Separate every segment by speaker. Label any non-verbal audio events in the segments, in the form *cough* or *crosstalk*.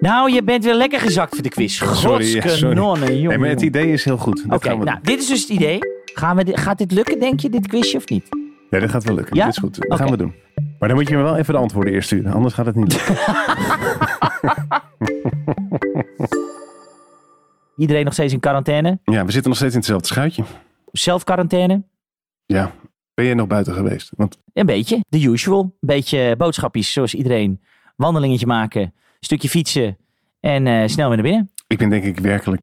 Speaker 1: Nou, je bent weer lekker gezakt voor de quiz.
Speaker 2: *laughs* Sorry, ja, sorry.
Speaker 1: Godskanonnen, jongen.
Speaker 2: Nee, maar het idee is heel goed. Dat
Speaker 1: Oké,
Speaker 2: gaan we
Speaker 1: nou, dit is dus het idee. Gaan we, di- gaat dit lukken, denk je, dit quizje of niet?
Speaker 2: doen. Nee, dat gaat wel lukken.
Speaker 1: Ja?
Speaker 2: Dat is goed. Dat
Speaker 1: Oké.
Speaker 2: gaan we doen. Maar dan moet je me wel even de antwoorden eerst sturen. Anders gaat het niet lukken.
Speaker 1: Iedereen nog steeds in quarantaine.
Speaker 2: ja, we zitten nog steeds in hetzelfde schuitje.
Speaker 1: Zelf-quarantaine.
Speaker 2: Ja. Ben jij nog buiten geweest? Want
Speaker 1: Een beetje, the usual. Een beetje boodschappies, zoals iedereen. Wandelingetje maken, stukje fietsen en eh, snel weer naar binnen.
Speaker 2: ik ben denk ik werkelijk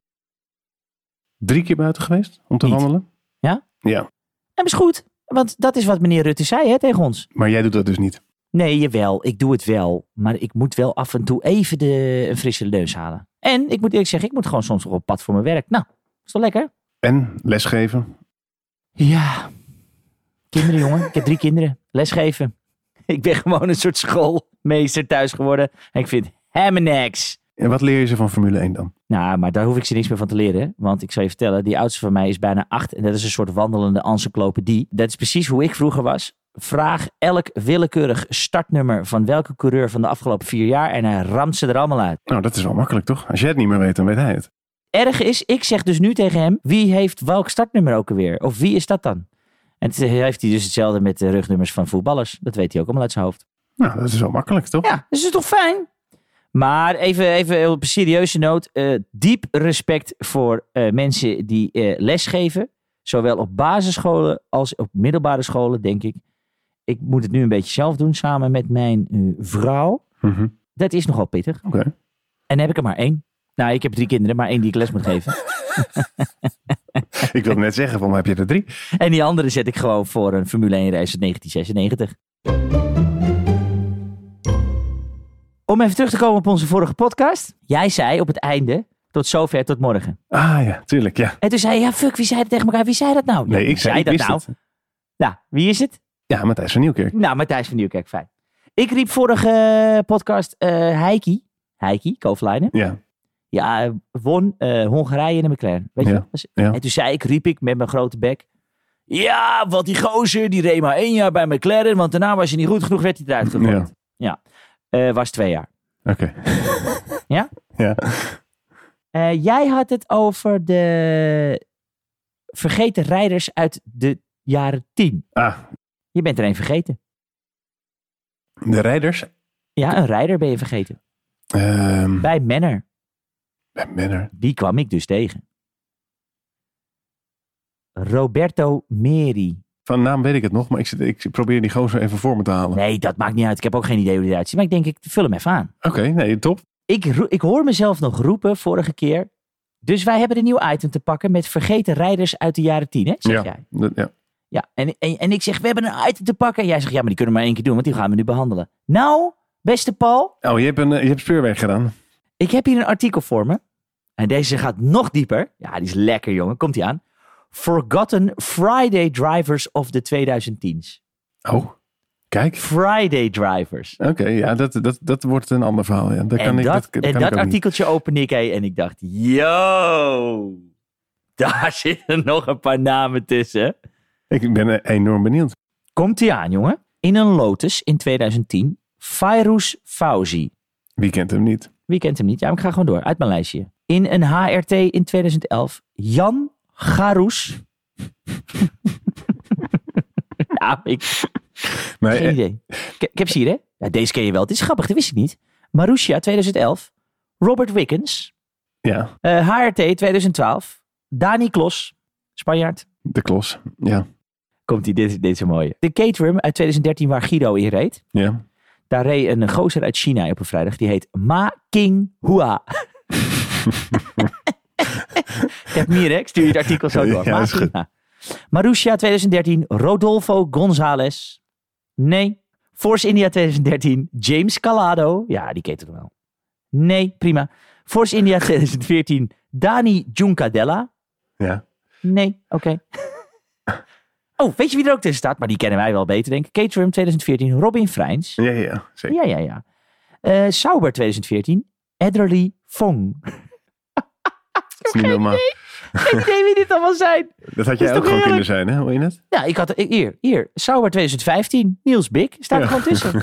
Speaker 2: drie keer buiten geweest om te
Speaker 1: Niet.
Speaker 2: wandelen.
Speaker 1: Ja?
Speaker 2: Ja.
Speaker 1: En is goed, want dat is wat meneer Rutte zei hè, tegen ons.
Speaker 2: Maar jij doet dat dus niet.
Speaker 1: Nee, jawel, ik doe het wel. Maar ik moet wel af en toe even de, een frisse neus halen. En ik moet eerlijk zeggen, ik moet gewoon soms nog op pad voor mijn werk. Nou, is toch lekker?
Speaker 2: En lesgeven.
Speaker 1: Ja. Kinderen, jongen. Ik heb drie kinderen. Lesgeven. Ik ben gewoon een soort schoolmeester thuis geworden. En ik vind helemaal niks.
Speaker 2: En wat leer je ze van Formule 1 dan?
Speaker 1: Nou, maar daar hoef ik ze niks meer van te leren. hè. Want ik zal je vertellen, die oudste van mij is bijna acht. En dat is een soort wandelende encyclopedie. Dat is precies hoe ik vroeger was. Vraag elk willekeurig startnummer van welke coureur van de afgelopen vier jaar. En hij ramt ze er allemaal uit.
Speaker 2: Nou, dat is wel makkelijk toch? Als jij het niet meer weet, dan weet hij het.
Speaker 1: Erg is, ik zeg dus nu tegen hem, wie heeft welk startnummer ook alweer? Of wie is dat dan? En toen heeft hij dus hetzelfde met de rugnummers van voetballers. Dat weet hij ook allemaal uit zijn hoofd.
Speaker 2: Nou, dat is wel makkelijk toch?
Speaker 1: Ja, dus het is toch fijn? Maar even, even op een serieuze noot. eh, diep respect voor eh, mensen die eh, lesgeven. Zowel op basisscholen als op middelbare scholen, denk ik. Ik moet het nu een beetje zelf doen, samen met mijn eh, vrouw.
Speaker 2: Mhm.
Speaker 1: Dat is nogal pittig.
Speaker 2: Oké.
Speaker 1: En dan heb ik er maar één. Nou, ik heb drie kinderen, maar één die ik les moet geven.
Speaker 2: Ik wilde net zeggen, waarom heb je er drie?
Speaker 1: En die andere zet ik gewoon voor een Formule 1 race uit 1996. Om even terug te komen op onze vorige podcast. Jij zei op het einde, tot zover, tot morgen.
Speaker 2: Ah ja, tuurlijk, ja.
Speaker 1: En toen zei je, ja fuck, wie zei dat tegen elkaar? Wie zei dat nou? Ja,
Speaker 2: Nee,
Speaker 1: wie
Speaker 2: ik zei, ik
Speaker 1: dat
Speaker 2: wist
Speaker 1: nou.
Speaker 2: het.
Speaker 1: Nou, wie is het?
Speaker 2: Ja, Matthijs van Nieuwkerk.
Speaker 1: Nou, Matthijs van Nieuwkerk, fijn. Ik riep vorige eh, podcast eh Heiki. Heiki, Kovlainen.
Speaker 2: Ja.
Speaker 1: Ja, eh, won eh, Hongarije in de McLaren. Weet je
Speaker 2: Ja,
Speaker 1: wel? Dus-
Speaker 2: ja.
Speaker 1: En toen zei ik, riep ik met mijn grote bek. Ja, wat die gozer, die reed maar één jaar bij McLaren. Want daarna was hij niet goed genoeg, werd hij eruit gegooid. Ja. Eh, was twee jaar.
Speaker 2: Oké.
Speaker 1: Ja?
Speaker 2: Ja.
Speaker 1: Eh, jij had het over de vergeten rijders uit de jaren tien.
Speaker 2: Ah,
Speaker 1: Je bent er één vergeten.
Speaker 2: de rijders.
Speaker 1: Ja, een rijder ben je vergeten.
Speaker 2: Ehm
Speaker 1: Bij Manner,
Speaker 2: ben ben er.
Speaker 1: die kwam ik dus tegen. Roberto Meri.
Speaker 2: Van naam weet ik het nog, maar ik, zit, ik probeer die gozer even voor me te halen.
Speaker 1: Nee, dat maakt niet uit. Ik heb ook geen idee hoe dit uitziet. Maar ik denk, ik vul hem even aan.
Speaker 2: Oké, nee, top.
Speaker 1: Ik, roe- ik hoor mezelf nog roepen vorige keer. Dus wij hebben een nieuw item te pakken met vergeten rijders uit de jaren tien, hè? Zeg jij.
Speaker 2: Dat- ja.
Speaker 1: Ja. En, en, en ik zeg, we hebben een item te pakken. En jij zegt, ja, maar die kunnen we maar één keer doen, want die gaan we nu behandelen. Nou, beste Paul,
Speaker 2: Oh, je hebt, een, eh, je hebt speurwerk gedaan.
Speaker 1: ik heb hier een artikel voor me. En deze gaat nog dieper. Ja, die is lekker, jongen. Komt die aan. Forgotten Friday Drivers of the 2010s.
Speaker 2: Oh, kijk.
Speaker 1: Friday Drivers.
Speaker 2: Oké, ja, dat, dat, dat wordt een ander verhaal. Ja. Dat kan
Speaker 1: en
Speaker 2: ik,
Speaker 1: dat,
Speaker 2: dat, kan
Speaker 1: en
Speaker 2: ik
Speaker 1: dat
Speaker 2: ook niet.
Speaker 1: artikeltje open ik hé, en ik dacht, yo, *laughs* daar zitten nog een paar namen tussen.
Speaker 2: Ik ben eh, enorm benieuwd.
Speaker 1: Komt ie aan, jongen. In een Lotus in 2010, Fairuz Fauzi.
Speaker 2: Wie kent hem niet?
Speaker 1: Wie kent hem niet? Ja, maar ik ga gewoon door, uit mijn lijstje. In een HRT in 2011, Jan Garous. *laughs* nou, ik,
Speaker 2: Nee,
Speaker 1: geen
Speaker 2: eh,
Speaker 1: idee. Ik, ik heb ze hier, hè? Ja, deze ken je wel. Het is grappig, dat wist ik niet. Marussia, 2011. Robert Wickens.
Speaker 2: ja,
Speaker 1: Eh, HRT 2012. Dani Klos, Spanjaard.
Speaker 2: de klos. Ja,
Speaker 1: Komt ie, dit, dit is een mooie. De Caterham uit 2013 waar Guido in reed.
Speaker 2: ja.
Speaker 1: Daar reed een gozer uit China op een vrijdag. Die heet Ma King *laughs* Hua. Ik heb hem hier, hè? Ik stuur je het artikel zo door.
Speaker 2: Ja,
Speaker 1: Ma
Speaker 2: is
Speaker 1: King
Speaker 2: goed.
Speaker 1: Hua. Marussia 2013. Rodolfo González. Nee. Force India 2013. James Calado. Ja, die kent hem wel. Nee, prima. Force India *laughs* 2014. Dani Juncadella.
Speaker 2: ja.
Speaker 1: Nee, oké. *laughs* oh, weet je wie er ook tussen staat? Maar die kennen wij wel beter, denk ik. Caterham 2014, Robin Freins.
Speaker 2: Ja, ja, ja, zeker.
Speaker 1: Ja, ja, ja. Eh, Sauber 2014, Adderley Fong.
Speaker 2: Dat is niet normaal.
Speaker 1: Geen idee wie dit allemaal zijn.
Speaker 2: Dat had jij
Speaker 1: Is
Speaker 2: ook
Speaker 1: toch
Speaker 2: gewoon
Speaker 1: heerlijk?
Speaker 2: kunnen zijn, hè? Hoor je het?
Speaker 1: Nou, ik had... Hier, hier. Sauber 2015, Niels Bik. Staat er
Speaker 2: Ja.
Speaker 1: gewoon tussen. *laughs*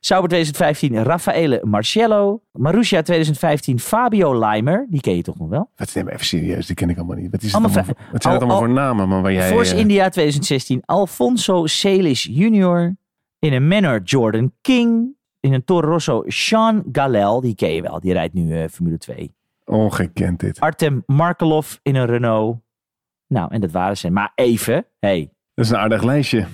Speaker 1: Sauber 2015 Raffaele Marcello. Marussia 2015 Fabio Leimer. Die ken je toch nog wel?
Speaker 2: Wat neem even serieus, die ken ik allemaal niet. Wat, is het
Speaker 1: Allemaal Oh,
Speaker 2: allemaal,
Speaker 1: vra-
Speaker 2: voor- wat zijn het
Speaker 1: al-
Speaker 2: allemaal voor namen, man, waar jij...
Speaker 1: Force
Speaker 2: eh,
Speaker 1: India 2016 Alfonso Celis Jr. In een Manor Jordan King. In een Toro Rosso Sean Galel. Die ken je wel, die rijdt nu eh, Formule 2.
Speaker 2: Ongekend dit.
Speaker 1: Artem Markelov in een Renault. Nou, en dat waren ze. Maar even, hey,
Speaker 2: Dat is een aardig lijstje.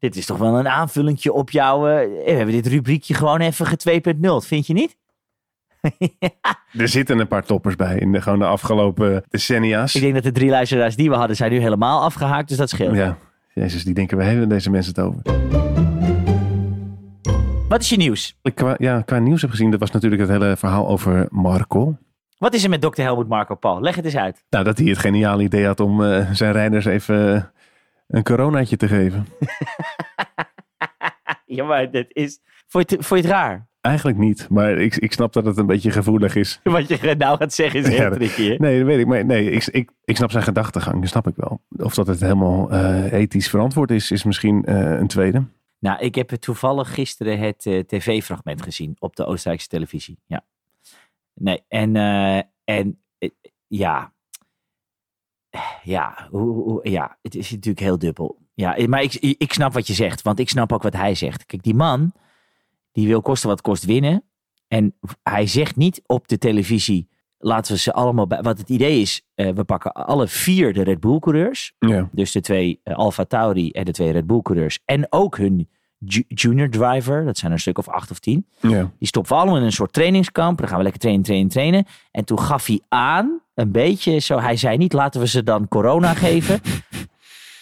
Speaker 1: dit is toch wel een aanvullingje op jouw... eh, we hebben dit rubriekje gewoon even 2.0, vind je niet?
Speaker 2: Er zitten een paar toppers bij in de, gewoon de afgelopen decennia's.
Speaker 1: Ik denk dat de drie luisteraars die we hadden zijn nu helemaal afgehaakt, dus dat scheelt.
Speaker 2: Ja, jezus, die denken, we hebben deze mensen het over.
Speaker 1: Wat is je nieuws?
Speaker 2: Ik qua, ja, qua nieuws heb gezien, dat was natuurlijk het hele verhaal over Marco.
Speaker 1: Wat is er met dokter Helmut Marco Paul? Leg het eens uit.
Speaker 2: Nou, dat hij het geniale idee had om eh, zijn rijders even eh, een coronaatje te geven.
Speaker 1: Ja, maar dit is... Vond je het, vond je het raar?
Speaker 2: Eigenlijk niet, maar ik, ik snap dat het een beetje gevoelig is.
Speaker 1: *laughs* Wat je nou gaat zeggen is heel
Speaker 2: Ja, dat-
Speaker 1: tricky, hè?
Speaker 2: Nee, dat weet ik. Maar nee, ik, ik, ik snap zijn gedachtegang, dat snap ik wel. Of dat het helemaal eh, ethisch verantwoord is, is misschien eh, een tweede.
Speaker 1: Nou, ik heb toevallig gisteren het eh, tv-fragment gezien op de Oostenrijkse televisie. Ja. Nee, en, eh, en eh, ja. Ja, hoe, hoe- ja, het is natuurlijk heel dubbel. Ja, eh, maar ik, ik snap wat je zegt, want ik snap ook wat hij zegt. Kijk, die man, die wil kosten wat kost winnen. En hij zegt niet op de televisie, laten we ze allemaal bij... Wat het idee is, eh, we pakken alle vier de Red Bull-coureurs.
Speaker 2: Ja,
Speaker 1: Dus de twee eh, Alfa Tauri en de twee Red Bull coureurs. En ook hun ju- junior driver. Dat zijn er een stuk of acht of tien.
Speaker 2: ja.
Speaker 1: Die stoppen we allemaal in een soort trainingskamp. Dan gaan we lekker trainen, trainen, trainen. En toen gaf hij aan, een beetje zo. Hij zei niet, laten we ze dan corona geven.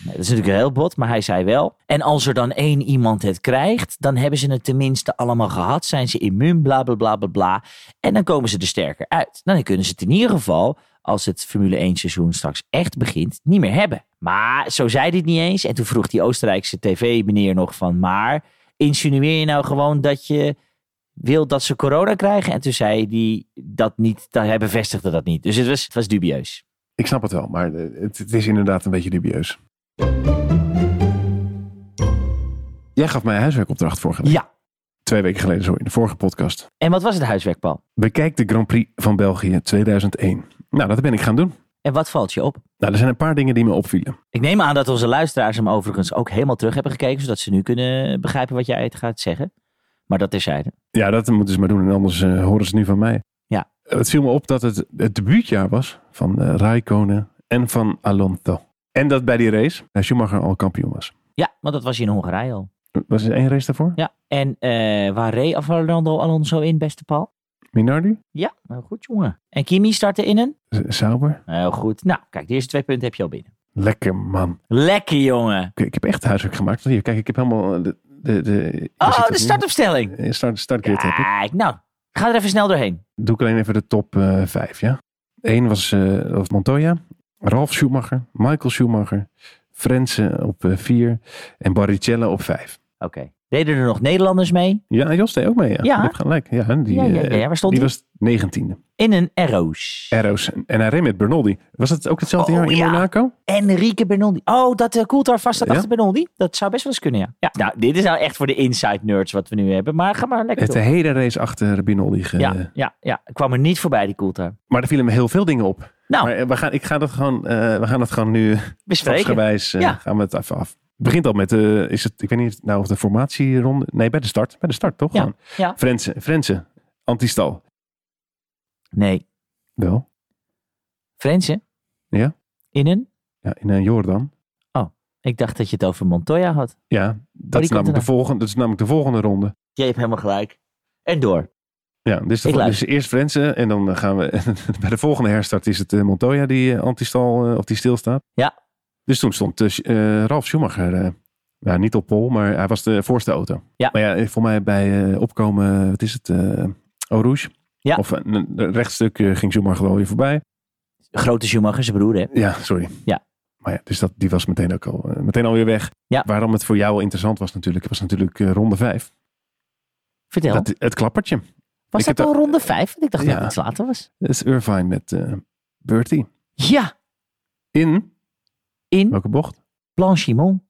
Speaker 1: Nee, dat is natuurlijk heel bot, maar hij zei wel. En als er dan één iemand het krijgt, dan hebben ze het tenminste allemaal gehad. Zijn ze immuun, bla bla bla bla bla. En dan komen ze er sterker uit. Nou, dan kunnen ze het in ieder geval, als het Formule 1 seizoen straks echt begint, niet meer hebben. Maar zo zei hij het niet eens. En toen vroeg die Oostenrijkse tv-meneer nog van, maar insinueer je nou gewoon dat je wil dat ze corona krijgen? En toen zei hij dat niet, dat hij bevestigde dat niet. Dus het was, het was dubieus.
Speaker 2: Ik snap het wel, maar eh, het, het is inderdaad een beetje dubieus. Jij gaf mij een huiswerkopdracht vorige week.
Speaker 1: Ja.
Speaker 2: Twee weken geleden, sorry, in de vorige podcast.
Speaker 1: En wat was het huiswerk, Paul?
Speaker 2: Bekijk de Grand Prix van België 2001. Nou, dat ben ik gaan doen.
Speaker 1: En wat valt je op?
Speaker 2: Nou, er zijn een paar dingen die me opvielen.
Speaker 1: Ik neem aan dat onze luisteraars hem overigens ook helemaal terug hebben gekeken, zodat ze nu kunnen begrijpen wat jij het gaat zeggen. Maar dat terzijde.
Speaker 2: Ja, dat moeten ze maar doen, en anders eh, horen ze het nu van mij.
Speaker 1: Ja.
Speaker 2: Het viel me op dat het het debuutjaar was van eh Raikkonen en van Alonso. En dat bij die race eh, Schumacher al kampioen was.
Speaker 1: Ja, want dat was in Hongarije al.
Speaker 2: Was er één race daarvoor?
Speaker 1: Ja. En eh, waar reed Fernando Alonso in, beste Paul?
Speaker 2: Minardi?
Speaker 1: Ja, heel goed jongen. En Kimi startte in een?
Speaker 2: Z- Sauber?
Speaker 1: Heel goed. Nou, kijk, de eerste twee punten heb je al binnen.
Speaker 2: Lekker man.
Speaker 1: Lekker jongen.
Speaker 2: Ik, ik heb echt huiswerk gemaakt. Want hier, kijk, ik heb helemaal de... de, de daar zit
Speaker 1: Oh,
Speaker 2: het
Speaker 1: de
Speaker 2: in.
Speaker 1: startopstelling.
Speaker 2: Eh, Start, startgrid heb ik.
Speaker 1: Kijk, nou, ga er even snel doorheen.
Speaker 2: Doe ik alleen even de top 5, vijf, ja? Eén was eh, of Montoya, Ralf Schumacher, Michael Schumacher, Frensen op 4 vier en Barrichello op vijf.
Speaker 1: Oké. Deden er nog Nederlanders mee?
Speaker 2: Ja, Jos deed ook mee, ja.
Speaker 1: Ja.
Speaker 2: Je hebt gelijk. Ja, die,
Speaker 1: Ja, ja,
Speaker 2: eh,
Speaker 1: ja. Waar stond
Speaker 2: die
Speaker 1: hij?
Speaker 2: was negentiende.
Speaker 1: In een Arrows.
Speaker 2: Arrows. En hij reed met Bernoldi. Was dat ook hetzelfde
Speaker 1: Oh,
Speaker 2: jaar in
Speaker 1: ja.
Speaker 2: Monaco?
Speaker 1: Enrique Bernoldi. Oh, dat uh, Coulthard vast staat
Speaker 2: Ja?
Speaker 1: achter Bernoldi. Dat zou best wel eens kunnen, ja. ja. Nou, dit is nou echt voor de inside nerds wat we nu hebben. Maar ga maar lekker
Speaker 2: Het
Speaker 1: door.
Speaker 2: hele race achter Bernoldi. Ge...
Speaker 1: Ja, ja, ja. Ik kwam er niet voorbij, die Coulthard.
Speaker 2: Maar er vielen me heel veel dingen op.
Speaker 1: Nou,
Speaker 2: Maar eh, we gaan, ik ga dat gewoon, eh, we gaan dat gewoon nu
Speaker 1: bespreken.
Speaker 2: Stapsgewijs eh,
Speaker 1: Ja.
Speaker 2: gaan we het even af. Het begint al met, eh, is het, ik weet niet nou of de formatieronde. Nee, bij de start. Bij de start toch?
Speaker 1: Ja,
Speaker 2: Gewoon.
Speaker 1: ja.
Speaker 2: Frensen, Frensen, antistal.
Speaker 1: Nee,
Speaker 2: Wel,
Speaker 1: Frensen?
Speaker 2: Ja?
Speaker 1: In een?
Speaker 2: ja, in een Jordan.
Speaker 1: Ik dacht dat je het over Montoya had.
Speaker 2: Ja, dat,
Speaker 1: Oh, komt
Speaker 2: is namelijk,
Speaker 1: erna.
Speaker 2: de volgende, dat is namelijk de volgende ronde.
Speaker 1: Je hebt helemaal gelijk. En door.
Speaker 2: Ja, dus, de
Speaker 1: Ik
Speaker 2: vol- dus
Speaker 1: luister.
Speaker 2: eerst Frensen en dan eh, gaan we... *laughs* bij de volgende herstart is het eh, Montoya die eh, antistal, eh, of die stilstaat.
Speaker 1: Ja.
Speaker 2: Dus toen stond eh, Sch- eh, Ralf Schumacher, eh, nou, niet op pol, maar hij was de voorste auto.
Speaker 1: Ja.
Speaker 2: Maar ja, eh, voor mij bij eh, opkomen, wat is het, eh Eau Rouge?
Speaker 1: Ja.
Speaker 2: Of eh, een een rechtstuk eh, ging Schumacher geloof je voorbij.
Speaker 1: Grote Schumacher, zijn broer, hè?
Speaker 2: Ja, sorry.
Speaker 1: Ja.
Speaker 2: Maar ja, dus dat, die was meteen ook al, eh, meteen alweer weg.
Speaker 1: Ja.
Speaker 2: Waarom het voor jou al interessant was natuurlijk, was natuurlijk eh, ronde vijf.
Speaker 1: Vertel.
Speaker 2: Dat, het klappertje.
Speaker 1: was dat
Speaker 2: ik heb
Speaker 1: al
Speaker 2: dat-
Speaker 1: ronde vijf? Want ik dacht dat
Speaker 2: Ja.
Speaker 1: het iets later was.
Speaker 2: Dat is Irvine met eh Bertie.
Speaker 1: Ja,
Speaker 2: In
Speaker 1: in
Speaker 2: welke bocht?
Speaker 1: Blanchimont.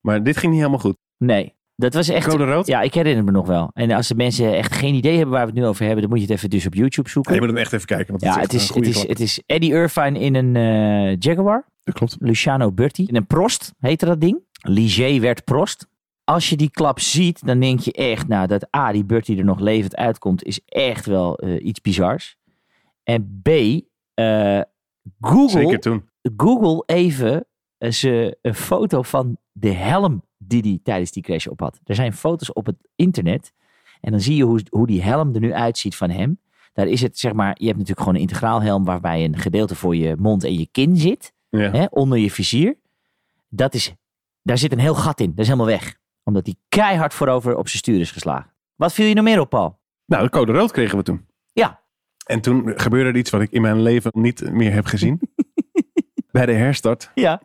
Speaker 2: Maar dit ging niet helemaal goed.
Speaker 1: Nee. dat was echt...
Speaker 2: Code rood?
Speaker 1: Ja, ik herinner me nog wel. En als de mensen echt geen idee hebben waar we het nu over hebben, dan moet je het even dus op YouTube
Speaker 3: Ja,
Speaker 1: zoeken.
Speaker 3: je moet hem echt even kijken. Want
Speaker 1: ja,
Speaker 3: het is, echt
Speaker 1: het, is,
Speaker 3: een goede
Speaker 1: het, is,
Speaker 3: klap.
Speaker 1: het is Eddie Irvine in een eh, Jaguar.
Speaker 2: Dat klopt.
Speaker 1: Luciano Berti. In een Prost heette dat ding. Ligier werd Prost. Als je die klap ziet, dan denk je echt, nou, dat A, die Berti er nog levend uitkomt, is echt wel eh, iets bizars. En B, eh,
Speaker 2: Zeker
Speaker 1: Google,
Speaker 2: toen.
Speaker 1: Google even eh, ze een foto van de helm die hij tijdens die crash op had. Er zijn foto's op het internet. En dan zie je hoe, hoe die helm er nu uitziet van hem. Daar is het, zeg maar, je hebt natuurlijk gewoon een integraal helm waarbij een gedeelte voor je mond en je kin zit
Speaker 2: Ja.
Speaker 1: hè, onder je vizier. Dat is, daar zit een heel gat in. Dat is helemaal weg. Omdat hij keihard voorover op zijn stuur is geslagen. Wat viel je nog meer op, Paul?
Speaker 2: Nou, de code rood kregen we toen.
Speaker 1: Ja.
Speaker 2: En toen gebeurde er iets wat ik in mijn leven niet meer heb
Speaker 1: *laughs*
Speaker 2: gezien. Bij de herstart
Speaker 1: Ja.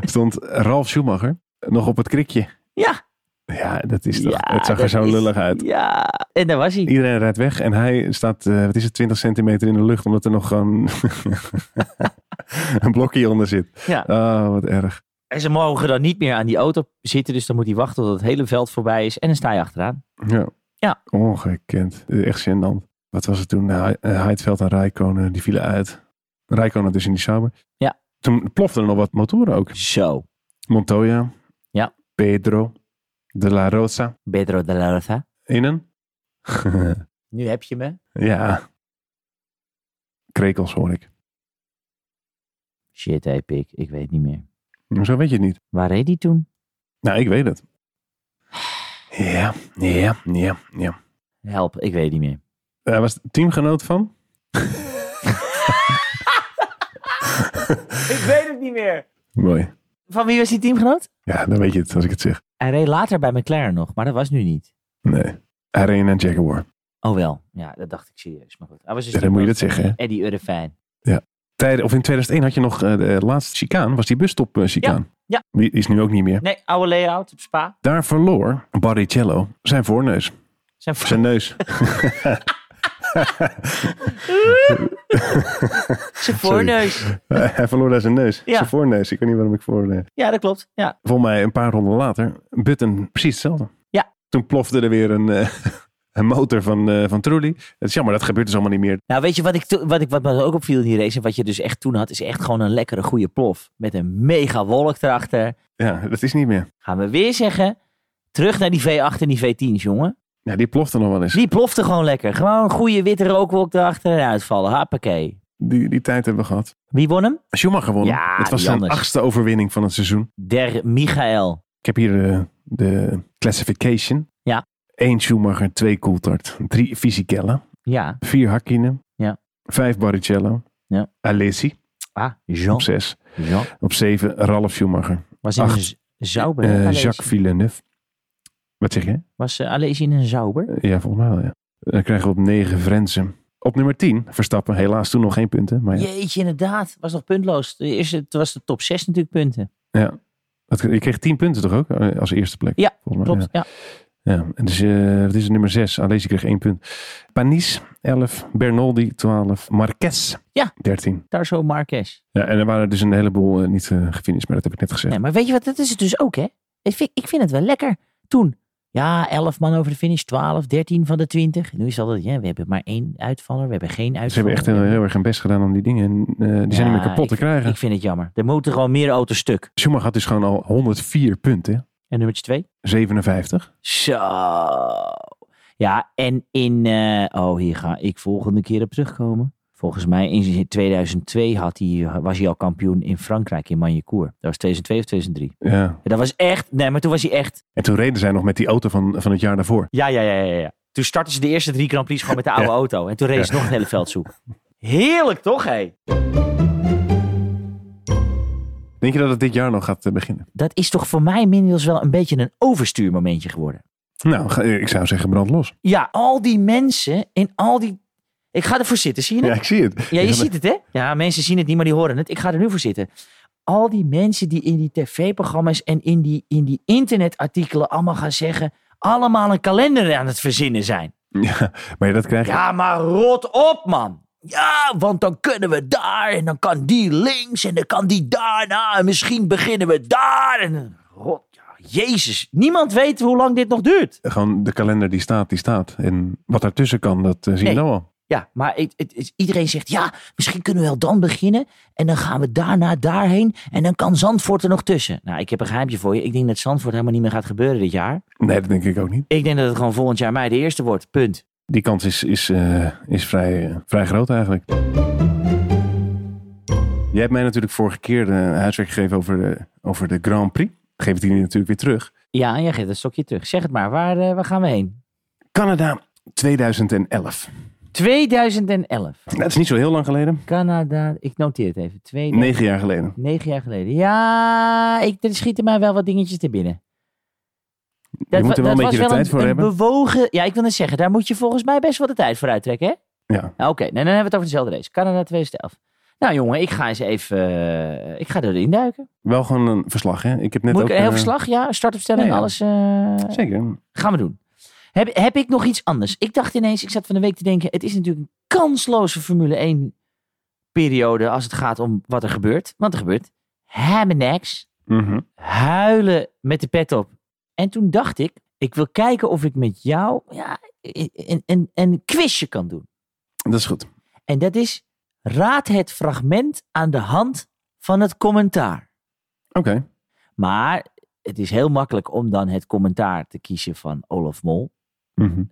Speaker 2: stond Ralf Schumacher nog op het krikje.
Speaker 1: Ja.
Speaker 2: Ja, dat is toch,
Speaker 1: Ja,
Speaker 2: het zag er
Speaker 1: dat
Speaker 2: zo
Speaker 1: is-
Speaker 2: lullig uit.
Speaker 1: Ja. En daar was hij.
Speaker 2: Iedereen rijdt weg en hij staat, eh, wat is het, 20 centimeter in de lucht, omdat er nog gewoon *laughs* een blokje onder zit.
Speaker 1: Ja.
Speaker 2: Oh, wat erg.
Speaker 1: En ze mogen dan niet meer aan die auto zitten. Dus dan moet hij wachten tot het hele veld voorbij is. En dan sta je achteraan.
Speaker 2: Ja.
Speaker 1: Ja.
Speaker 2: Ongekend. Echt gênant. Wat was het toen? Nou, eh, Heidveld en Rijkonen, die vielen uit. Rijkonen dus in die Sauber.
Speaker 1: Ja.
Speaker 2: Toen ploften er nog wat motoren ook.
Speaker 1: Zo.
Speaker 2: Montoya.
Speaker 1: Ja.
Speaker 2: Pedro. De La Rosa.
Speaker 1: Pedro de la Rosa.
Speaker 2: Innen. *laughs*
Speaker 1: Nu heb je me.
Speaker 2: ja. Krekels hoor ik.
Speaker 1: Shit, epic. Ik weet niet meer.
Speaker 2: Zo weet je het niet.
Speaker 1: Waar reed hij toen?
Speaker 2: Nou, ik weet het. Ja, ja, ja, ja.
Speaker 1: Help, ik weet niet meer.
Speaker 2: Hij was teamgenoot van?
Speaker 1: Ik weet het niet meer.
Speaker 2: Mooi.
Speaker 1: Van wie was die teamgenoot?
Speaker 2: Ja, dan weet je het als ik het zeg.
Speaker 1: Hij reed later bij McLaren nog, maar dat was nu niet.
Speaker 2: Nee. Hij reed in een Jaguar.
Speaker 1: Oh wel, ja, dat dacht ik serieus. Maar goed, hij was dus
Speaker 2: Ja, dan moet je dat zeggen. hè.
Speaker 1: Eddie Urfijn.
Speaker 2: Tijden, of in 2001 had je nog eh, de laatste chicaan. Was die busstop eh, chicaan.
Speaker 1: ja.
Speaker 2: Die is nu ook niet meer.
Speaker 1: Nee, oude layout op Spa.
Speaker 2: Daar verloor Barrichello zijn voorneus.
Speaker 1: Zijn *laughs*
Speaker 2: Zijn neus.
Speaker 1: zijn voorneus.
Speaker 2: *laughs* Hij verloor daar zijn neus.
Speaker 1: Ja.
Speaker 2: Zijn voorneus. Ik weet niet waarom ik voor... eh,
Speaker 1: Ja, dat klopt. Ja.
Speaker 2: Volgens mij een paar ronden later, Button precies hetzelfde.
Speaker 1: Ja.
Speaker 2: Toen plofte er weer een, eh, *laughs* een motor van, eh van Trulli. Het is jammer, dat gebeurt dus allemaal niet meer.
Speaker 1: Nou, weet je wat, ik to- wat, ik, wat me ook opviel in die race? En wat je dus echt toen had, is echt gewoon een lekkere goede plof. Met een mega wolk erachter.
Speaker 2: Ja, dat is niet meer.
Speaker 1: Gaan we weer zeggen, terug naar die V8 en die V10's, jongen.
Speaker 2: Ja, die plofte nog wel eens.
Speaker 1: Die plofte gewoon lekker. Gewoon een goede witte rookwolk erachter en uitvallen. Hoppakee.
Speaker 2: Die, die tijd hebben we gehad.
Speaker 1: Wie won hem?
Speaker 2: Schumacher won.
Speaker 1: Ja,
Speaker 2: het was
Speaker 1: die
Speaker 2: zijn
Speaker 1: anders.
Speaker 2: achtste overwinning van het seizoen.
Speaker 1: Der Michael.
Speaker 2: Ik heb hier de, de classification.
Speaker 1: Ja.
Speaker 2: Eén Schumacher, twee Coulthard, drie Fisichella,
Speaker 1: Ja.
Speaker 2: vier Hakkinen,
Speaker 1: Ja.
Speaker 2: vijf Barrichello,
Speaker 1: Ja.
Speaker 2: Alessi
Speaker 1: Ah,
Speaker 2: op
Speaker 1: Jean.
Speaker 2: zes,
Speaker 1: Jean.
Speaker 2: op zeven Ralf Schumacher,
Speaker 1: Was in
Speaker 2: Acht.
Speaker 1: een z- zauber.
Speaker 2: eh,
Speaker 1: hè, Alesi?
Speaker 2: Jacques Villeneuve. Wat zeg je?
Speaker 1: Was eh, Alesi in een zauber?
Speaker 2: Ja, volgens mij wel, ja. Dan krijgen we op 9 Frenzen. Op nummer 10 Verstappen. Helaas toen nog geen punten. Maar ja,
Speaker 1: Jeetje, inderdaad. Was nog puntloos. De eerste, het was de top 6 natuurlijk punten.
Speaker 2: Dat- je kreeg 10 punten toch ook eh, als eerste plek?
Speaker 1: Ja,
Speaker 2: volgens mij,
Speaker 1: Klopt, ja.
Speaker 2: Ja. Ja. En dus, eh, wat is het nummer 6? Alesi kreeg 1 punt. Panis 11, Bernoldi 12, Marquez
Speaker 1: Ja.
Speaker 2: 13.
Speaker 1: Tarso Marquez.
Speaker 2: Ja, en er waren dus een heleboel eh, niet eh gefinished, maar dat heb ik net gezegd.
Speaker 1: Nee, maar weet je wat, dat is het dus ook, hè? Ik vind, ik vind het wel lekker. Toen, ja, 11 man over de finish, 12, 13 van de 20. Nu is het altijd, ja, we hebben maar één uitvaller, we hebben geen
Speaker 2: Ze hebben
Speaker 1: uitvaller.
Speaker 2: echt eh, heel, heel erg hun best gedaan om die dingen. eh, die zijn
Speaker 1: Ja,
Speaker 2: niet meer kapot te krijgen.
Speaker 1: Ik vind het jammer. Er moeten gewoon meer auto's stuk.
Speaker 2: Schumacher had dus gewoon al 104 punten.
Speaker 1: En nummertje 2?
Speaker 2: 57.
Speaker 1: Zo. Ja, en in. eh, oh, hier ga ik volgende keer op terugkomen. Volgens mij in 2002 had hij, was hij al kampioen in Frankrijk, in Magny-Cours. Dat was 2002 of 2003.
Speaker 2: Ja.
Speaker 1: Ja, dat was echt. Nee, maar toen was hij echt.
Speaker 2: En toen reden zij nog met die auto van, van het jaar daarvoor.
Speaker 1: Ja, ja, ja, ja. ja. Toen startten ze de eerste drie Grand Prix gewoon
Speaker 2: *laughs*
Speaker 1: met de oude auto. En toen reed ze nog het hele veld zoek. Heerlijk toch, hé?
Speaker 2: Denk je dat het dit jaar nog gaat eh, beginnen?
Speaker 1: Dat is toch voor mij inmiddels wel een beetje een overstuurmomentje geworden.
Speaker 2: Nou, ga- ik zou zeggen brand los.
Speaker 1: Ja, al die mensen en al die. Ik ga ervoor zitten, zie je het?
Speaker 2: Ja, ik zie het.
Speaker 1: Ja,
Speaker 2: Ik
Speaker 1: je
Speaker 2: had-
Speaker 1: ziet het, hè? Ja, mensen zien het niet, maar die horen het. Ik ga er nu voor zitten. Al die mensen die in die tv-programma's en in die, in die internetartikelen allemaal gaan zeggen... allemaal een kalender aan het verzinnen zijn.
Speaker 2: *laughs* Ja, maar ja, dat krijg je.
Speaker 1: Ja, maar rot op, man. Ja, want dan kunnen we daar en dan kan die links en dan kan die daarna... en misschien beginnen we daar en... Rot, ja, jezus, niemand weet hoe lang dit nog duurt.
Speaker 2: Gewoon de kalender die staat, die staat. En wat daartussen kan, dat eh, zie je
Speaker 1: Nee.
Speaker 2: nou al.
Speaker 1: Ja, maar het, het is- iedereen zegt, ja, misschien kunnen we wel dan beginnen. En dan gaan we daarna daarheen. En dan kan Zandvoort er nog tussen. Nou, ik heb een geheimtje voor je. Ik denk dat Zandvoort helemaal niet meer gaat gebeuren dit jaar.
Speaker 2: Nee, dat denk ik ook niet.
Speaker 1: Ik denk dat het gewoon volgend jaar mei de eerste wordt. Punt.
Speaker 2: Die kans is, is, eh, is vrij, eh, vrij groot eigenlijk. Jij hebt mij natuurlijk vorige keer eh, huiswerk gegeven over de, over de Grand Prix. Geef het hier nu natuurlijk weer terug.
Speaker 1: Ja, en jij geeft een stokje terug. Zeg het maar, waar, eh, waar gaan we heen?
Speaker 2: Canada 2011.
Speaker 1: 2011.
Speaker 2: Dat is niet zo heel lang geleden.
Speaker 1: Canada, ik noteer het even. Twee,
Speaker 2: Negen jaar geleden.
Speaker 1: Negen jaar geleden. Ja, ik, er schieten mij wel wat dingetjes te binnen.
Speaker 2: Je moet
Speaker 1: wa-
Speaker 2: er wel een
Speaker 1: was
Speaker 2: beetje de tijd voor
Speaker 1: een
Speaker 2: hebben.
Speaker 1: Bewogen, ja, ik wil net zeggen, daar moet je volgens mij best wel de tijd voor uittrekken, hè?
Speaker 2: Ja.
Speaker 1: Nou, Oké, nou, dan hebben we het over dezelfde race. Canada 2011. Nou jongen, ik ga eens even, eh, ik ga erin duiken.
Speaker 2: Wel gewoon een verslag, hè? Ik heb net
Speaker 1: moet
Speaker 2: ook...
Speaker 1: ik een heel
Speaker 2: eh,
Speaker 1: verslag? Ja, startopstelling,
Speaker 2: ja, ja.
Speaker 1: alles. eh,
Speaker 2: Zeker.
Speaker 1: Gaan we doen. Heb, heb ik nog iets anders? Ik dacht ineens, ik zat van de week te denken, het is natuurlijk een kansloze Formule 1 periode als het gaat om wat er gebeurt. Want er gebeurt helemaal niks.
Speaker 2: Mhm.
Speaker 1: Huilen met de pet op. En toen dacht ik, ik wil kijken of ik met jou ja, een, een, een quizje kan doen.
Speaker 2: Dat is goed.
Speaker 1: En dat is, raad het fragment aan de hand van het commentaar.
Speaker 2: Oké.
Speaker 1: Maar het is heel makkelijk om dan het commentaar te kiezen van Olaf Mol.
Speaker 2: Mhm.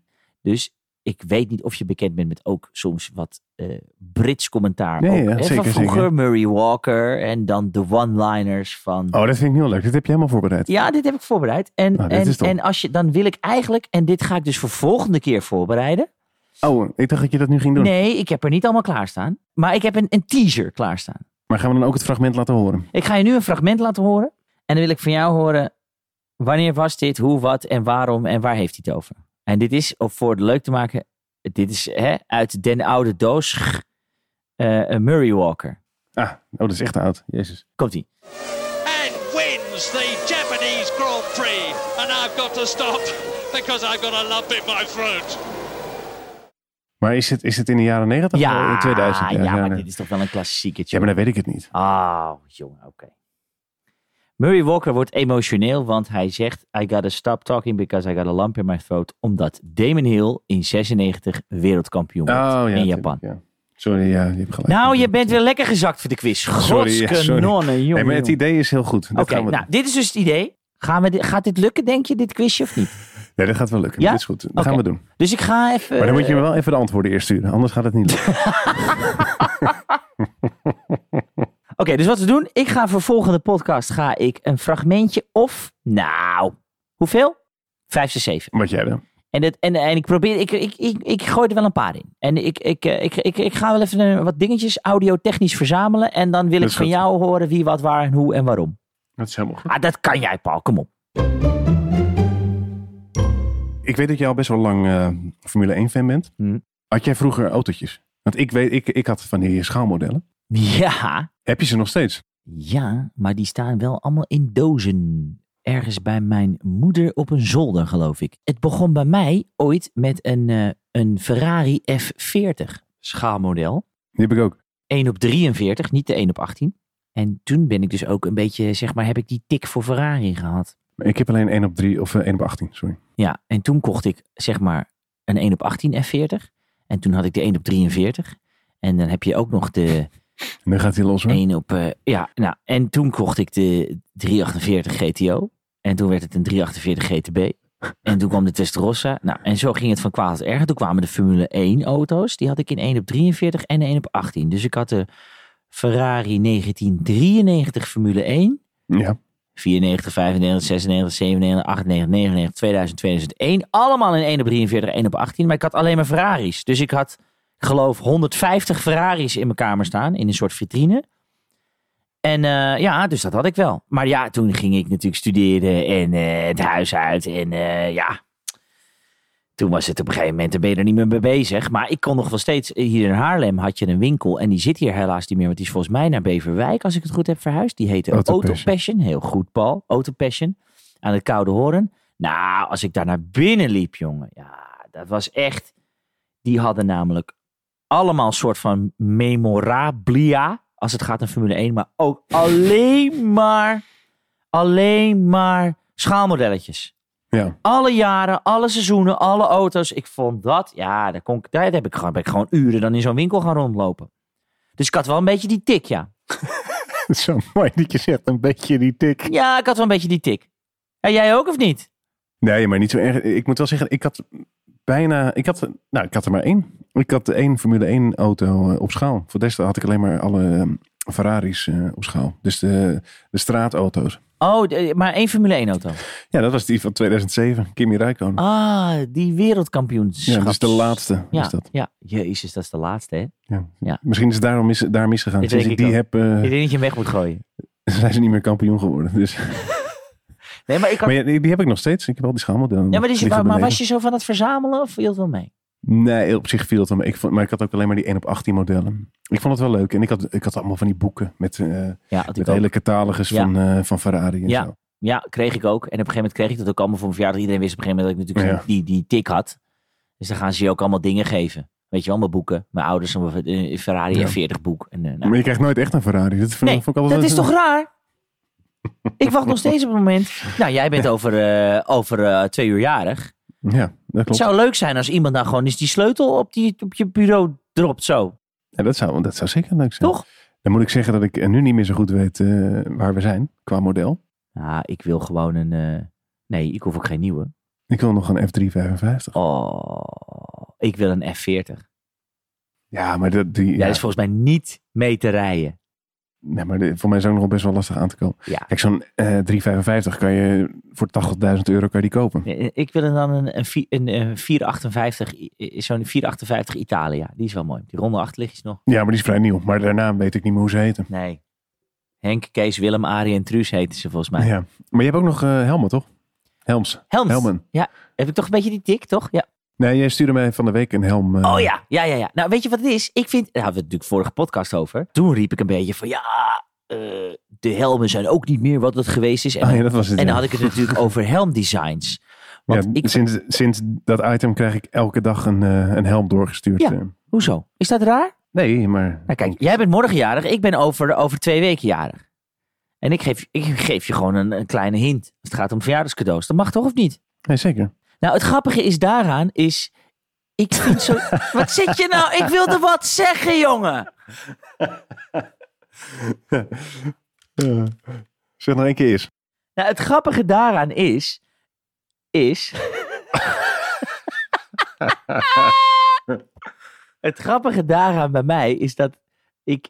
Speaker 1: Dus ik weet niet of je bekend bent met ook soms wat eh, Brits commentaar.
Speaker 2: Nee,
Speaker 1: ook,
Speaker 2: ja,
Speaker 1: hè,
Speaker 2: zeker,
Speaker 1: van vroeger
Speaker 2: zeker.
Speaker 1: Murray Walker en dan de one-liners van...
Speaker 2: Oh, dat vind ik heel leuk. Dit heb je helemaal voorbereid.
Speaker 1: Ja, dit heb ik voorbereid. En,
Speaker 2: Nou, dit
Speaker 1: en,
Speaker 2: is top.
Speaker 1: en als je, dan wil ik eigenlijk, en dit ga ik dus voor volgende keer voorbereiden.
Speaker 2: Oh, ik dacht dat je dat nu ging doen.
Speaker 1: Nee, ik heb er niet allemaal klaarstaan. Maar ik heb een, een teaser klaarstaan.
Speaker 2: Maar gaan we dan ook het fragment laten horen?
Speaker 1: Ik ga je nu een fragment laten horen. En dan wil ik van jou horen. Wanneer was dit? Hoe, wat en waarom? En waar heeft hij het over? En dit is, om voor het leuk te maken. Dit is hè, uit Den Oude Doos. g- eh, een Murray Walker.
Speaker 2: Ah, oh, dat is echt oud. Jezus.
Speaker 1: Komt ie.
Speaker 3: and wins the Japanese Grand Prix. And I've got to stop *laughs* because I've got a lump in my throat.
Speaker 2: Maar is het, is het in de jaren 90 of
Speaker 1: Ja,
Speaker 2: in 2000?
Speaker 1: ja, maar
Speaker 2: nee.
Speaker 1: dit is toch wel een klassieketje.
Speaker 2: ja, maar dan weet ik het niet.
Speaker 1: Ah, jongen, oké. Murray Walker wordt emotioneel, want hij zegt... I gotta stop talking because I got a lump in my throat. Omdat Damon Hill in 96 wereldkampioen
Speaker 2: Oh,
Speaker 1: wordt
Speaker 2: ja.
Speaker 1: in
Speaker 2: natuurlijk,
Speaker 1: Japan.
Speaker 2: ja. Sorry, ja, je hebt gelijk.
Speaker 1: Nou, je bent weer lekker gezakt voor de quiz.
Speaker 2: *laughs* Sorry, ja, sorry.
Speaker 1: Godskanonnen, jongen.
Speaker 2: Nee, maar het
Speaker 1: jongen.
Speaker 2: idee is heel goed. Dat
Speaker 1: Oké,
Speaker 2: gaan we
Speaker 1: nou, dit is dus het idee. Gaan we dit- gaat dit lukken, denk je, dit quizje of niet?
Speaker 2: doen. Nee, dat gaat wel lukken.
Speaker 1: Ja?
Speaker 2: Dat is goed. Dat
Speaker 1: Oké.
Speaker 2: gaan we doen.
Speaker 1: Dus ik ga even...
Speaker 2: Maar dan moet je me wel even de antwoorden eerst sturen. Anders gaat het niet
Speaker 1: *laughs*
Speaker 2: lukken.
Speaker 1: Oké, dus wat we doen, ik ga voor volgende podcast ga ik een fragmentje of... Nou, hoeveel? Vijf, zes, zeven.
Speaker 2: Wat jij dan?
Speaker 1: En, dat, en, en ik probeer, ik, ik, ik, ik gooi er wel een paar in. En ik, ik, eh, ik, ik, ik ga wel even eh, wat dingetjes audiotechnisch verzamelen. En dan wil
Speaker 2: Dat
Speaker 1: ik
Speaker 2: is
Speaker 1: van
Speaker 2: goed.
Speaker 1: jou horen wie, wat, waar en hoe en waarom.
Speaker 2: Dat is helemaal goed.
Speaker 1: Ah, dat kan jij, Paul. Kom op.
Speaker 2: Ik weet dat jij al best wel lang eh, Formule 1 fan bent.
Speaker 1: Hm.
Speaker 2: Had jij vroeger autootjes? Want ik weet, ik, ik had van die schaalmodellen.
Speaker 1: Ja,
Speaker 2: Heb je ze nog steeds?
Speaker 1: Ja, maar die staan wel allemaal in dozen. Ergens bij mijn moeder op een zolder, geloof ik. Het begon bij mij ooit met een, eh, een Ferrari F40 schaalmodel.
Speaker 2: Die heb ik ook.
Speaker 1: 1 op 43, niet de 1 op 18. En toen ben ik dus ook een beetje, zeg maar, heb ik die tik voor Ferrari gehad.
Speaker 2: Maar Ik heb alleen 1 op 3 of eh, 1 op 18, sorry.
Speaker 1: Ja, en toen kocht ik, zeg maar, een 1 op 18 F40. En toen had ik de 1 op 43. En dan heb je ook nog de
Speaker 2: En dan gaat hij los hoor.
Speaker 1: 1 op. eh, ja, nou, en toen kocht ik de 348 GTO. En toen werd het een 348 GTB. *laughs* En toen kwam de Testarossa. Nou, en zo ging het van kwaad tot erger. Toen kwamen de Formule 1 auto's. Die had ik in 1 op 43 en 1 op 18. Dus ik had de Ferrari 1993 Formule 1.
Speaker 2: Ja.
Speaker 1: 94, 95, 96, 97, 98, 99, 2000, 2001. Allemaal in 1 op 43, 1 op 18. Maar ik had alleen maar Ferraris. Dus ik had, ik geloof, 150 Ferraris in mijn kamer staan. In een soort vitrine. En eh, ja, dus dat had ik wel. Maar ja, toen ging ik natuurlijk studeren en eh, het huis uit. En eh, ja, toen was het op een gegeven moment, dan ben je er niet meer mee bezig. Maar ik kon nog wel steeds, eh, hier in Haarlem had je een winkel. En die zit hier helaas niet meer, want die is volgens mij naar Beverwijk, als ik het goed heb verhuisd. Die heette
Speaker 2: Auto
Speaker 1: Auto
Speaker 2: Passion.
Speaker 1: Passion. Heel goed, Paul. Auto Passion. Aan het Koude Horen. Nou, als ik daar naar binnen liep, jongen. Ja, dat was echt... Die hadden namelijk allemaal een soort van memorabilia. Als het gaat om Formule 1. Maar ook alleen maar, alleen maar schaalmodelletjes.
Speaker 2: Ja. *laughs*
Speaker 1: Alle jaren, alle seizoenen, alle auto's. Ik vond dat, ja, daar, kon, ik- daar heb ik gewoon, ben ik gewoon uren dan in zo'n winkel gaan rondlopen. Dus ik had wel een beetje die tik, ja.
Speaker 2: Zo mooi dat je zegt, een beetje die tik.
Speaker 1: Ja, ik had wel een beetje die tik. En jij ook of niet?
Speaker 2: Nee, maar niet zo erg. Ik moet wel zeggen, ik had bijna... Ik had, nou, ik had er maar één. Ik had één Formule 1 auto eh, op schaal. Voor des te had ik alleen maar alle eh, Ferraris eh, op schaal. Dus de, de straatauto's.
Speaker 1: Oh, de- maar één Formule 1 auto.
Speaker 2: Ja, dat was die van 2007. Kimi Räikkönen.
Speaker 1: Ah, die wereldkampioenschap.
Speaker 2: ja, dat is de laatste.
Speaker 1: Ja,
Speaker 2: Is dat.
Speaker 1: ja. Jezus, dat is de laatste, hè?
Speaker 2: Ja.
Speaker 1: Ja.
Speaker 2: Misschien is het daarom mis, daar misgegaan.
Speaker 1: Dat
Speaker 2: Sinds ik
Speaker 1: denk
Speaker 2: die
Speaker 1: ik
Speaker 2: heb, eh, *laughs*
Speaker 1: Ik denk dat je hem weg moet gooien.
Speaker 2: zijn ze niet meer kampioen geworden. Dus.
Speaker 1: Nee, maar, ik had,
Speaker 2: Maar ja, die die heb ik nog steeds. Ik heb al die schaalmodellen.
Speaker 1: ja, maar, dus,
Speaker 2: Ligt
Speaker 1: maar,
Speaker 2: op
Speaker 1: maar
Speaker 2: beneden.
Speaker 1: was je zo van het verzamelen of viel het wel mee?
Speaker 2: Nee, op zich viel het wel mee. Ik vond, maar ik had ook alleen maar die 1 op 18 modellen. Ik vond het wel leuk. En ik had, ik had allemaal van die boeken met, eh,
Speaker 1: Ja, had ik
Speaker 2: met
Speaker 1: ook.
Speaker 2: hele catalogus
Speaker 1: Ja.
Speaker 2: van, eh, van Ferrari en
Speaker 1: Ja.
Speaker 2: zo.
Speaker 1: ja, kreeg ik ook. En op een gegeven moment kreeg ik dat ook allemaal voor mijn verjaardag. Iedereen wist op een gegeven moment dat ik natuurlijk die, die tik had. Dus dan gaan ze je ook allemaal dingen geven. Weet je wel, mijn boeken. Mijn ouders, een een Ferrari
Speaker 2: Ja.
Speaker 1: F40 boek. En, eh, nou.
Speaker 2: Maar je krijgt nooit echt een Ferrari. Dat vond,
Speaker 1: Nee,
Speaker 2: vond ik altijd
Speaker 1: dat is
Speaker 2: wel-
Speaker 1: toch raar? Ik wacht nog steeds op het moment.
Speaker 2: *laughs*
Speaker 1: Nou, jij bent over, eh, over eh, twee uur jarig.
Speaker 2: Ja, dat
Speaker 1: Het
Speaker 2: klopt.
Speaker 1: zou leuk zijn als iemand dan gewoon eens die sleutel op, die, op je bureau dropt. Zo,
Speaker 2: Ja, dat, zou, dat zou zeker leuk zijn.
Speaker 1: toch?
Speaker 2: Dan moet ik zeggen dat ik eh, nu niet meer zo goed weet eh, waar we zijn qua model.
Speaker 1: Nou, ik wil gewoon een... eh, Nee, ik hoef ook geen nieuwe.
Speaker 2: Ik wil nog een F355.
Speaker 1: Oh, ik wil een F40.
Speaker 2: Ja, maar, dat, die,
Speaker 1: Ja,
Speaker 2: ja,
Speaker 1: dat is volgens mij niet mee te rijden.
Speaker 2: nee, maar de- voor mij is ook nog wel best wel lastig aan te komen.
Speaker 1: Ja.
Speaker 2: Kijk, zo'n eh 355 kan je voor 80.000 euro kan je die kopen.
Speaker 1: Eh, Ik wil er dan een, een, vi- een, eh, 458, i- i- zo'n 458 Italia. Die is wel mooi. Die ronde achterlichtjes nog.
Speaker 2: Ja, maar die is vrij nieuw. Maar daarna weet ik niet meer hoe ze heten.
Speaker 1: Nee. Henk, Kees, Willem, Arie en Truus heten ze volgens mij.
Speaker 2: Ja. Maar je hebt ook nog eh, Helmen, toch? Helms.
Speaker 1: Helms.
Speaker 2: Helmen.
Speaker 1: Heb ik toch een beetje die tik, toch? Ja.
Speaker 2: Nee, jij stuurde mij van de week een helm. eh,
Speaker 1: Oh ja, ja, ja, ja. Nou, weet je wat het is? Ik vind, daar hadden we het natuurlijk vorige podcast over. Toen riep ik een beetje van, ja, eh, de helmen zijn ook niet meer wat het geweest is. En,
Speaker 2: Ah, ja,
Speaker 1: dan-
Speaker 2: dat was het.
Speaker 1: en
Speaker 2: ja.
Speaker 1: dan had ik het natuurlijk over helmdesigns. Want
Speaker 2: Ja, dus-
Speaker 1: ik,
Speaker 2: sinds, sinds dat item krijg ik elke dag een, eh, een helm doorgestuurd.
Speaker 1: Ja.
Speaker 2: eh.
Speaker 1: hoezo? Is dat raar?
Speaker 2: Nee, maar...
Speaker 1: Nou kijk, jij bent morgen jarig, ik ben over, over twee weken jarig. En ik geef, ik geef je gewoon een, een kleine hint. Als het gaat om verjaardagscadeaus, dat mag toch of niet?
Speaker 2: Nee, zeker.
Speaker 1: Nou, het grappige is daaraan is... Ik vind zo... wat zit je nou? Ik wilde wat zeggen, jongen.
Speaker 2: Eh, zeg nog één keer eens.
Speaker 1: Nou, het grappige daaraan is...
Speaker 2: *laughs*
Speaker 1: Is... het grappige daaraan bij mij is dat ik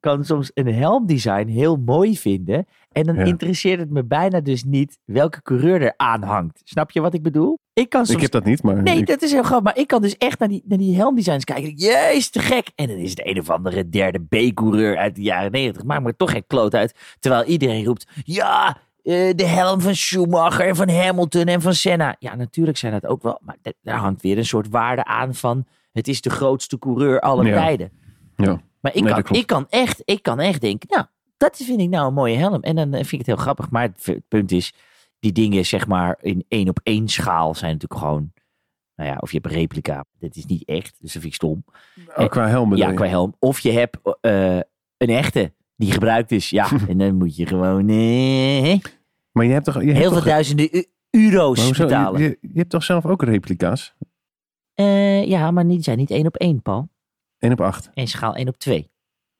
Speaker 1: kan soms een helmdesign heel mooi vinden. En dan
Speaker 2: Ja.
Speaker 1: interesseert het me bijna dus niet welke coureur er aan hangt. Snap je wat ik bedoel? Ik kan soms
Speaker 2: Ik heb dat niet, maar...
Speaker 1: Nee,
Speaker 2: ik-
Speaker 1: dat is heel grappig. Maar ik kan dus echt naar die, naar die helmdesigns kijken. Jezus, te gek. En dan is het een of andere derde B-coureur uit de jaren negentig. Maakt me toch geen kloot uit. Terwijl iedereen roept, ja, eh, de helm van Schumacher en van Hamilton en van Senna. Ja, natuurlijk zijn dat ook wel. Maar da- daar hangt weer een soort waarde aan van, het is de grootste coureur aller
Speaker 2: Ja.
Speaker 1: tijden.
Speaker 2: Ja.
Speaker 1: Maar ik,
Speaker 2: Nee, dat
Speaker 1: kan,
Speaker 2: klopt.
Speaker 1: ik, kan echt, ik kan echt denken, nou, dat vind ik nou een mooie helm. En dan eh, vind ik het heel grappig. Maar het, het punt is, die dingen zeg maar in één op één schaal zijn natuurlijk gewoon... Nou ja, of je hebt een replica. Dat is niet echt, dus dat vind ik stom.
Speaker 2: Oh, qua helm bedoel
Speaker 1: eh, Ja,
Speaker 2: je?
Speaker 1: qua helm. Of je hebt eh, een echte die gebruikt is.
Speaker 2: *laughs*
Speaker 1: Ja, en dan moet je gewoon eh,
Speaker 2: Maar je hebt toch... Je hebt
Speaker 1: heel
Speaker 2: toch-
Speaker 1: veel duizenden eu- euro's
Speaker 2: maar hoezo?
Speaker 1: betalen.
Speaker 2: Je, je hebt toch zelf ook replica's?
Speaker 1: Eh, ja, maar die zijn niet één op één, Paul.
Speaker 2: 1 op 8.
Speaker 1: En schaal één op twee.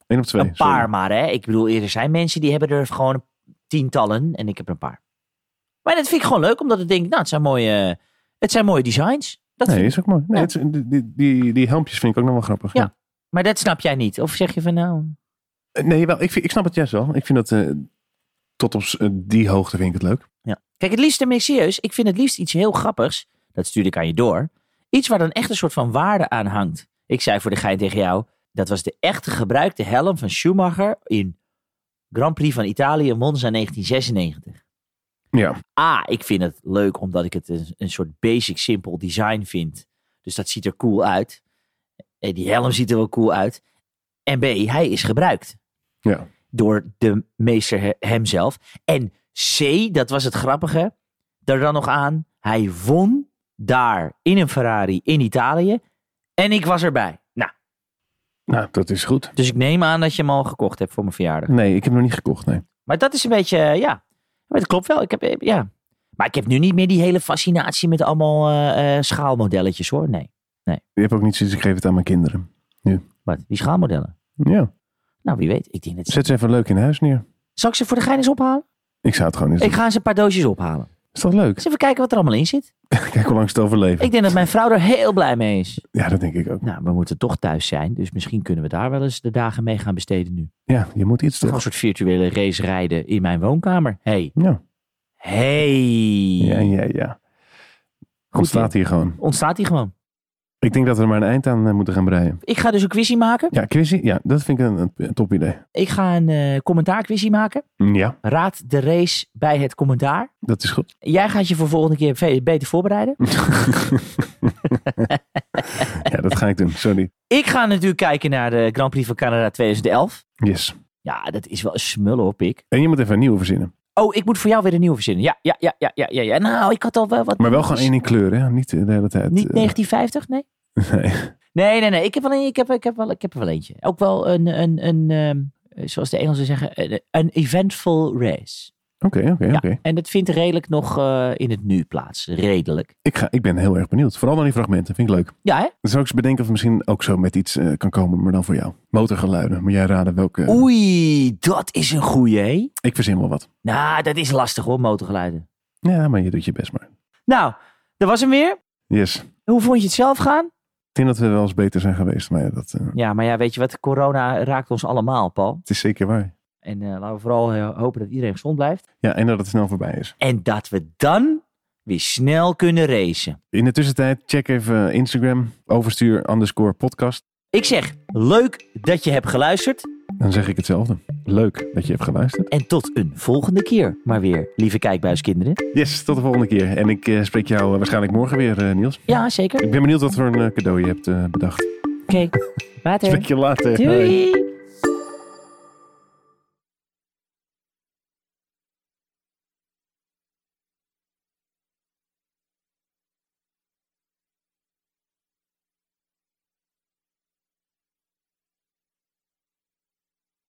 Speaker 2: 1 op 2.
Speaker 1: een paar maar, hè. Ik bedoel, er zijn mensen die hebben er gewoon tientallen en ik heb er een paar. Maar dat vind ik gewoon leuk, omdat ik denk, nou, het zijn mooie, het zijn mooie designs. Dat
Speaker 2: Nee,
Speaker 1: vind ik-
Speaker 2: is ook mooi. Nee,
Speaker 1: Ja.
Speaker 2: het is- die- die, die, die helmpjes vind ik ook nog wel grappig.
Speaker 1: Ja. Maar dat snap jij niet. Of zeg je van, nou...
Speaker 2: Eh, Nee, wel, ik, vind- ik snap het juist wel. Ik vind dat eh, tot op s- eh, die hoogte vind ik het leuk.
Speaker 1: Kijk, het liefst, en ik serieus, ik vind het liefst iets heel grappigs. Dat stuur ik aan je door. Iets waar dan echt een soort van waarde aan hangt. Ik zei voor de gein tegen jou, dat was de echte gebruikte helm van Schumacher in Grand Prix van Italië, Monza 1996.
Speaker 2: Ja,
Speaker 1: A, ik vind het leuk omdat ik het een, een soort basic, simpel design vind. Dus dat ziet er cool uit. En die helm ziet er wel cool uit. En B, hij is gebruikt
Speaker 2: ja.
Speaker 1: door de meester he- hemzelf. En C, dat was het grappige, daar dan nog aan. Hij won daar in een Ferrari in Italië. En ik was erbij. Nou,
Speaker 2: Nou, dat is goed.
Speaker 1: dus ik neem aan dat je hem al gekocht hebt voor mijn verjaardag.
Speaker 2: Nee, ik heb hem nog niet gekocht, nee.
Speaker 1: Maar dat is een beetje, eh, ja. Maar dat klopt wel. Ik heb, eh, ja. Maar ik heb nu niet meer die hele fascinatie met allemaal eh, eh, schaalmodelletjes hoor. Nee.
Speaker 2: Je hebt ook niet zoiets, ik geef het aan mijn kinderen.
Speaker 1: Wat? Die schaalmodellen.
Speaker 2: Ja,
Speaker 1: Nou, wie weet. Ik denk dat...
Speaker 2: zet ze even leuk in huis neer.
Speaker 1: Zal ik ze voor de gein eens ophalen?
Speaker 2: Ik zou het gewoon eens
Speaker 1: Ik
Speaker 2: doen.
Speaker 1: ga eens een paar doosjes ophalen.
Speaker 2: Is dat leuk?
Speaker 1: Eens even kijken wat er allemaal in zit.
Speaker 2: Kijk hoe lang ze het overleven.
Speaker 1: Ik denk dat mijn vrouw er heel blij mee is.
Speaker 2: Ja, dat denk ik ook.
Speaker 1: Nou, we moeten toch thuis zijn. Dus misschien kunnen we daar wel eens de dagen mee gaan besteden nu.
Speaker 2: Ja, je moet iets
Speaker 1: Toch een
Speaker 2: terug.
Speaker 1: soort virtuele race rijden in mijn woonkamer. Hey.
Speaker 2: Ja,
Speaker 1: Hey.
Speaker 2: ja, ja. ja. Goed staat hier gewoon.
Speaker 1: Ontstaat die gewoon.
Speaker 2: Ik denk dat we er maar een eind aan eh, moeten gaan breien.
Speaker 1: Ik ga dus een quizje maken.
Speaker 2: Ja, quizzie. Ja, dat vind ik een, een- een top idee.
Speaker 1: Ik ga een eh commentaarquizje maken.
Speaker 2: Ja,
Speaker 1: Raad de race bij het commentaar.
Speaker 2: dat is goed. *laughs*
Speaker 1: Jij gaat je voor volgende keer ve- beter voorbereiden.
Speaker 2: Ja, dat ga ik doen. Sorry.
Speaker 1: Ik ga natuurlijk kijken naar de Grand Prix van Canada 2011.
Speaker 2: Yes.
Speaker 1: Ja, dat is wel een smul hoor, Pik.
Speaker 2: En je moet even een nieuwe verzinnen.
Speaker 1: Oh, ik moet voor jou weer een nieuwe verzinnen. Ja, ja, ja, ja, ja, ja. ja. Nou, ik had al wel wat.
Speaker 2: Maar wel gewoon één in kleur, hè? Niet de hele tijd.
Speaker 1: Niet
Speaker 2: eh,
Speaker 1: 1950, nee.
Speaker 2: *laughs* nee.
Speaker 1: Nee, nee, nee. Ik heb, wel een, ik, heb, ik, heb wel, ik heb er wel eentje. Ook wel een, een, een ehm, zoals de Engelsen zeggen, een, een eventful race.
Speaker 2: Oké, oké,
Speaker 1: Ja.
Speaker 2: oké.
Speaker 1: En dat vindt redelijk nog eh, in het nu plaats. Redelijk.
Speaker 2: Ik ga- Ik ben heel erg benieuwd. Vooral naar die fragmenten. Vind ik leuk.
Speaker 1: Ja, hè?
Speaker 2: Dan zou ik eens bedenken of het misschien ook zo met iets eh, kan komen, maar dan voor jou. Motorgeluiden. Moet jij raden welke...
Speaker 1: Oei, dat is een goeie, hè?
Speaker 2: Ik verzin wel wat.
Speaker 1: Nou, dat is lastig hoor, motorgeluiden.
Speaker 2: Ja, maar je doet je best maar.
Speaker 1: Nou, dat was hem weer.
Speaker 2: Yes. Ik
Speaker 1: Hoe vond je het zelf gaan?
Speaker 2: denk dat we wel eens beter zijn geweest, maar ja, dat, eh,
Speaker 1: Ja, maar ja, weet je wat? Corona raakt ons allemaal, Paul.
Speaker 2: het is zeker waar.
Speaker 1: En eh, laten we vooral eh, hopen dat iedereen gezond blijft.
Speaker 2: Ja, en dat het snel voorbij is.
Speaker 1: En dat we dan weer snel kunnen racen.
Speaker 2: In de tussentijd, check even Instagram, overstuur underscore podcast.
Speaker 1: Ik zeg, leuk dat je hebt geluisterd.
Speaker 2: Dan zeg ik hetzelfde. Leuk dat je hebt geluisterd.
Speaker 1: En tot een volgende keer. Maar weer, lieve kijkbuiskinderen.
Speaker 2: Yes, tot de volgende keer. En ik eh, spreek jou eh, waarschijnlijk morgen weer, eh, Niels.
Speaker 1: Ja, zeker.
Speaker 2: Ik ben benieuwd wat voor een eh, cadeau je hebt eh, bedacht.
Speaker 1: Oké, later.
Speaker 2: Spreek je later. Hoi.
Speaker 1: Doei.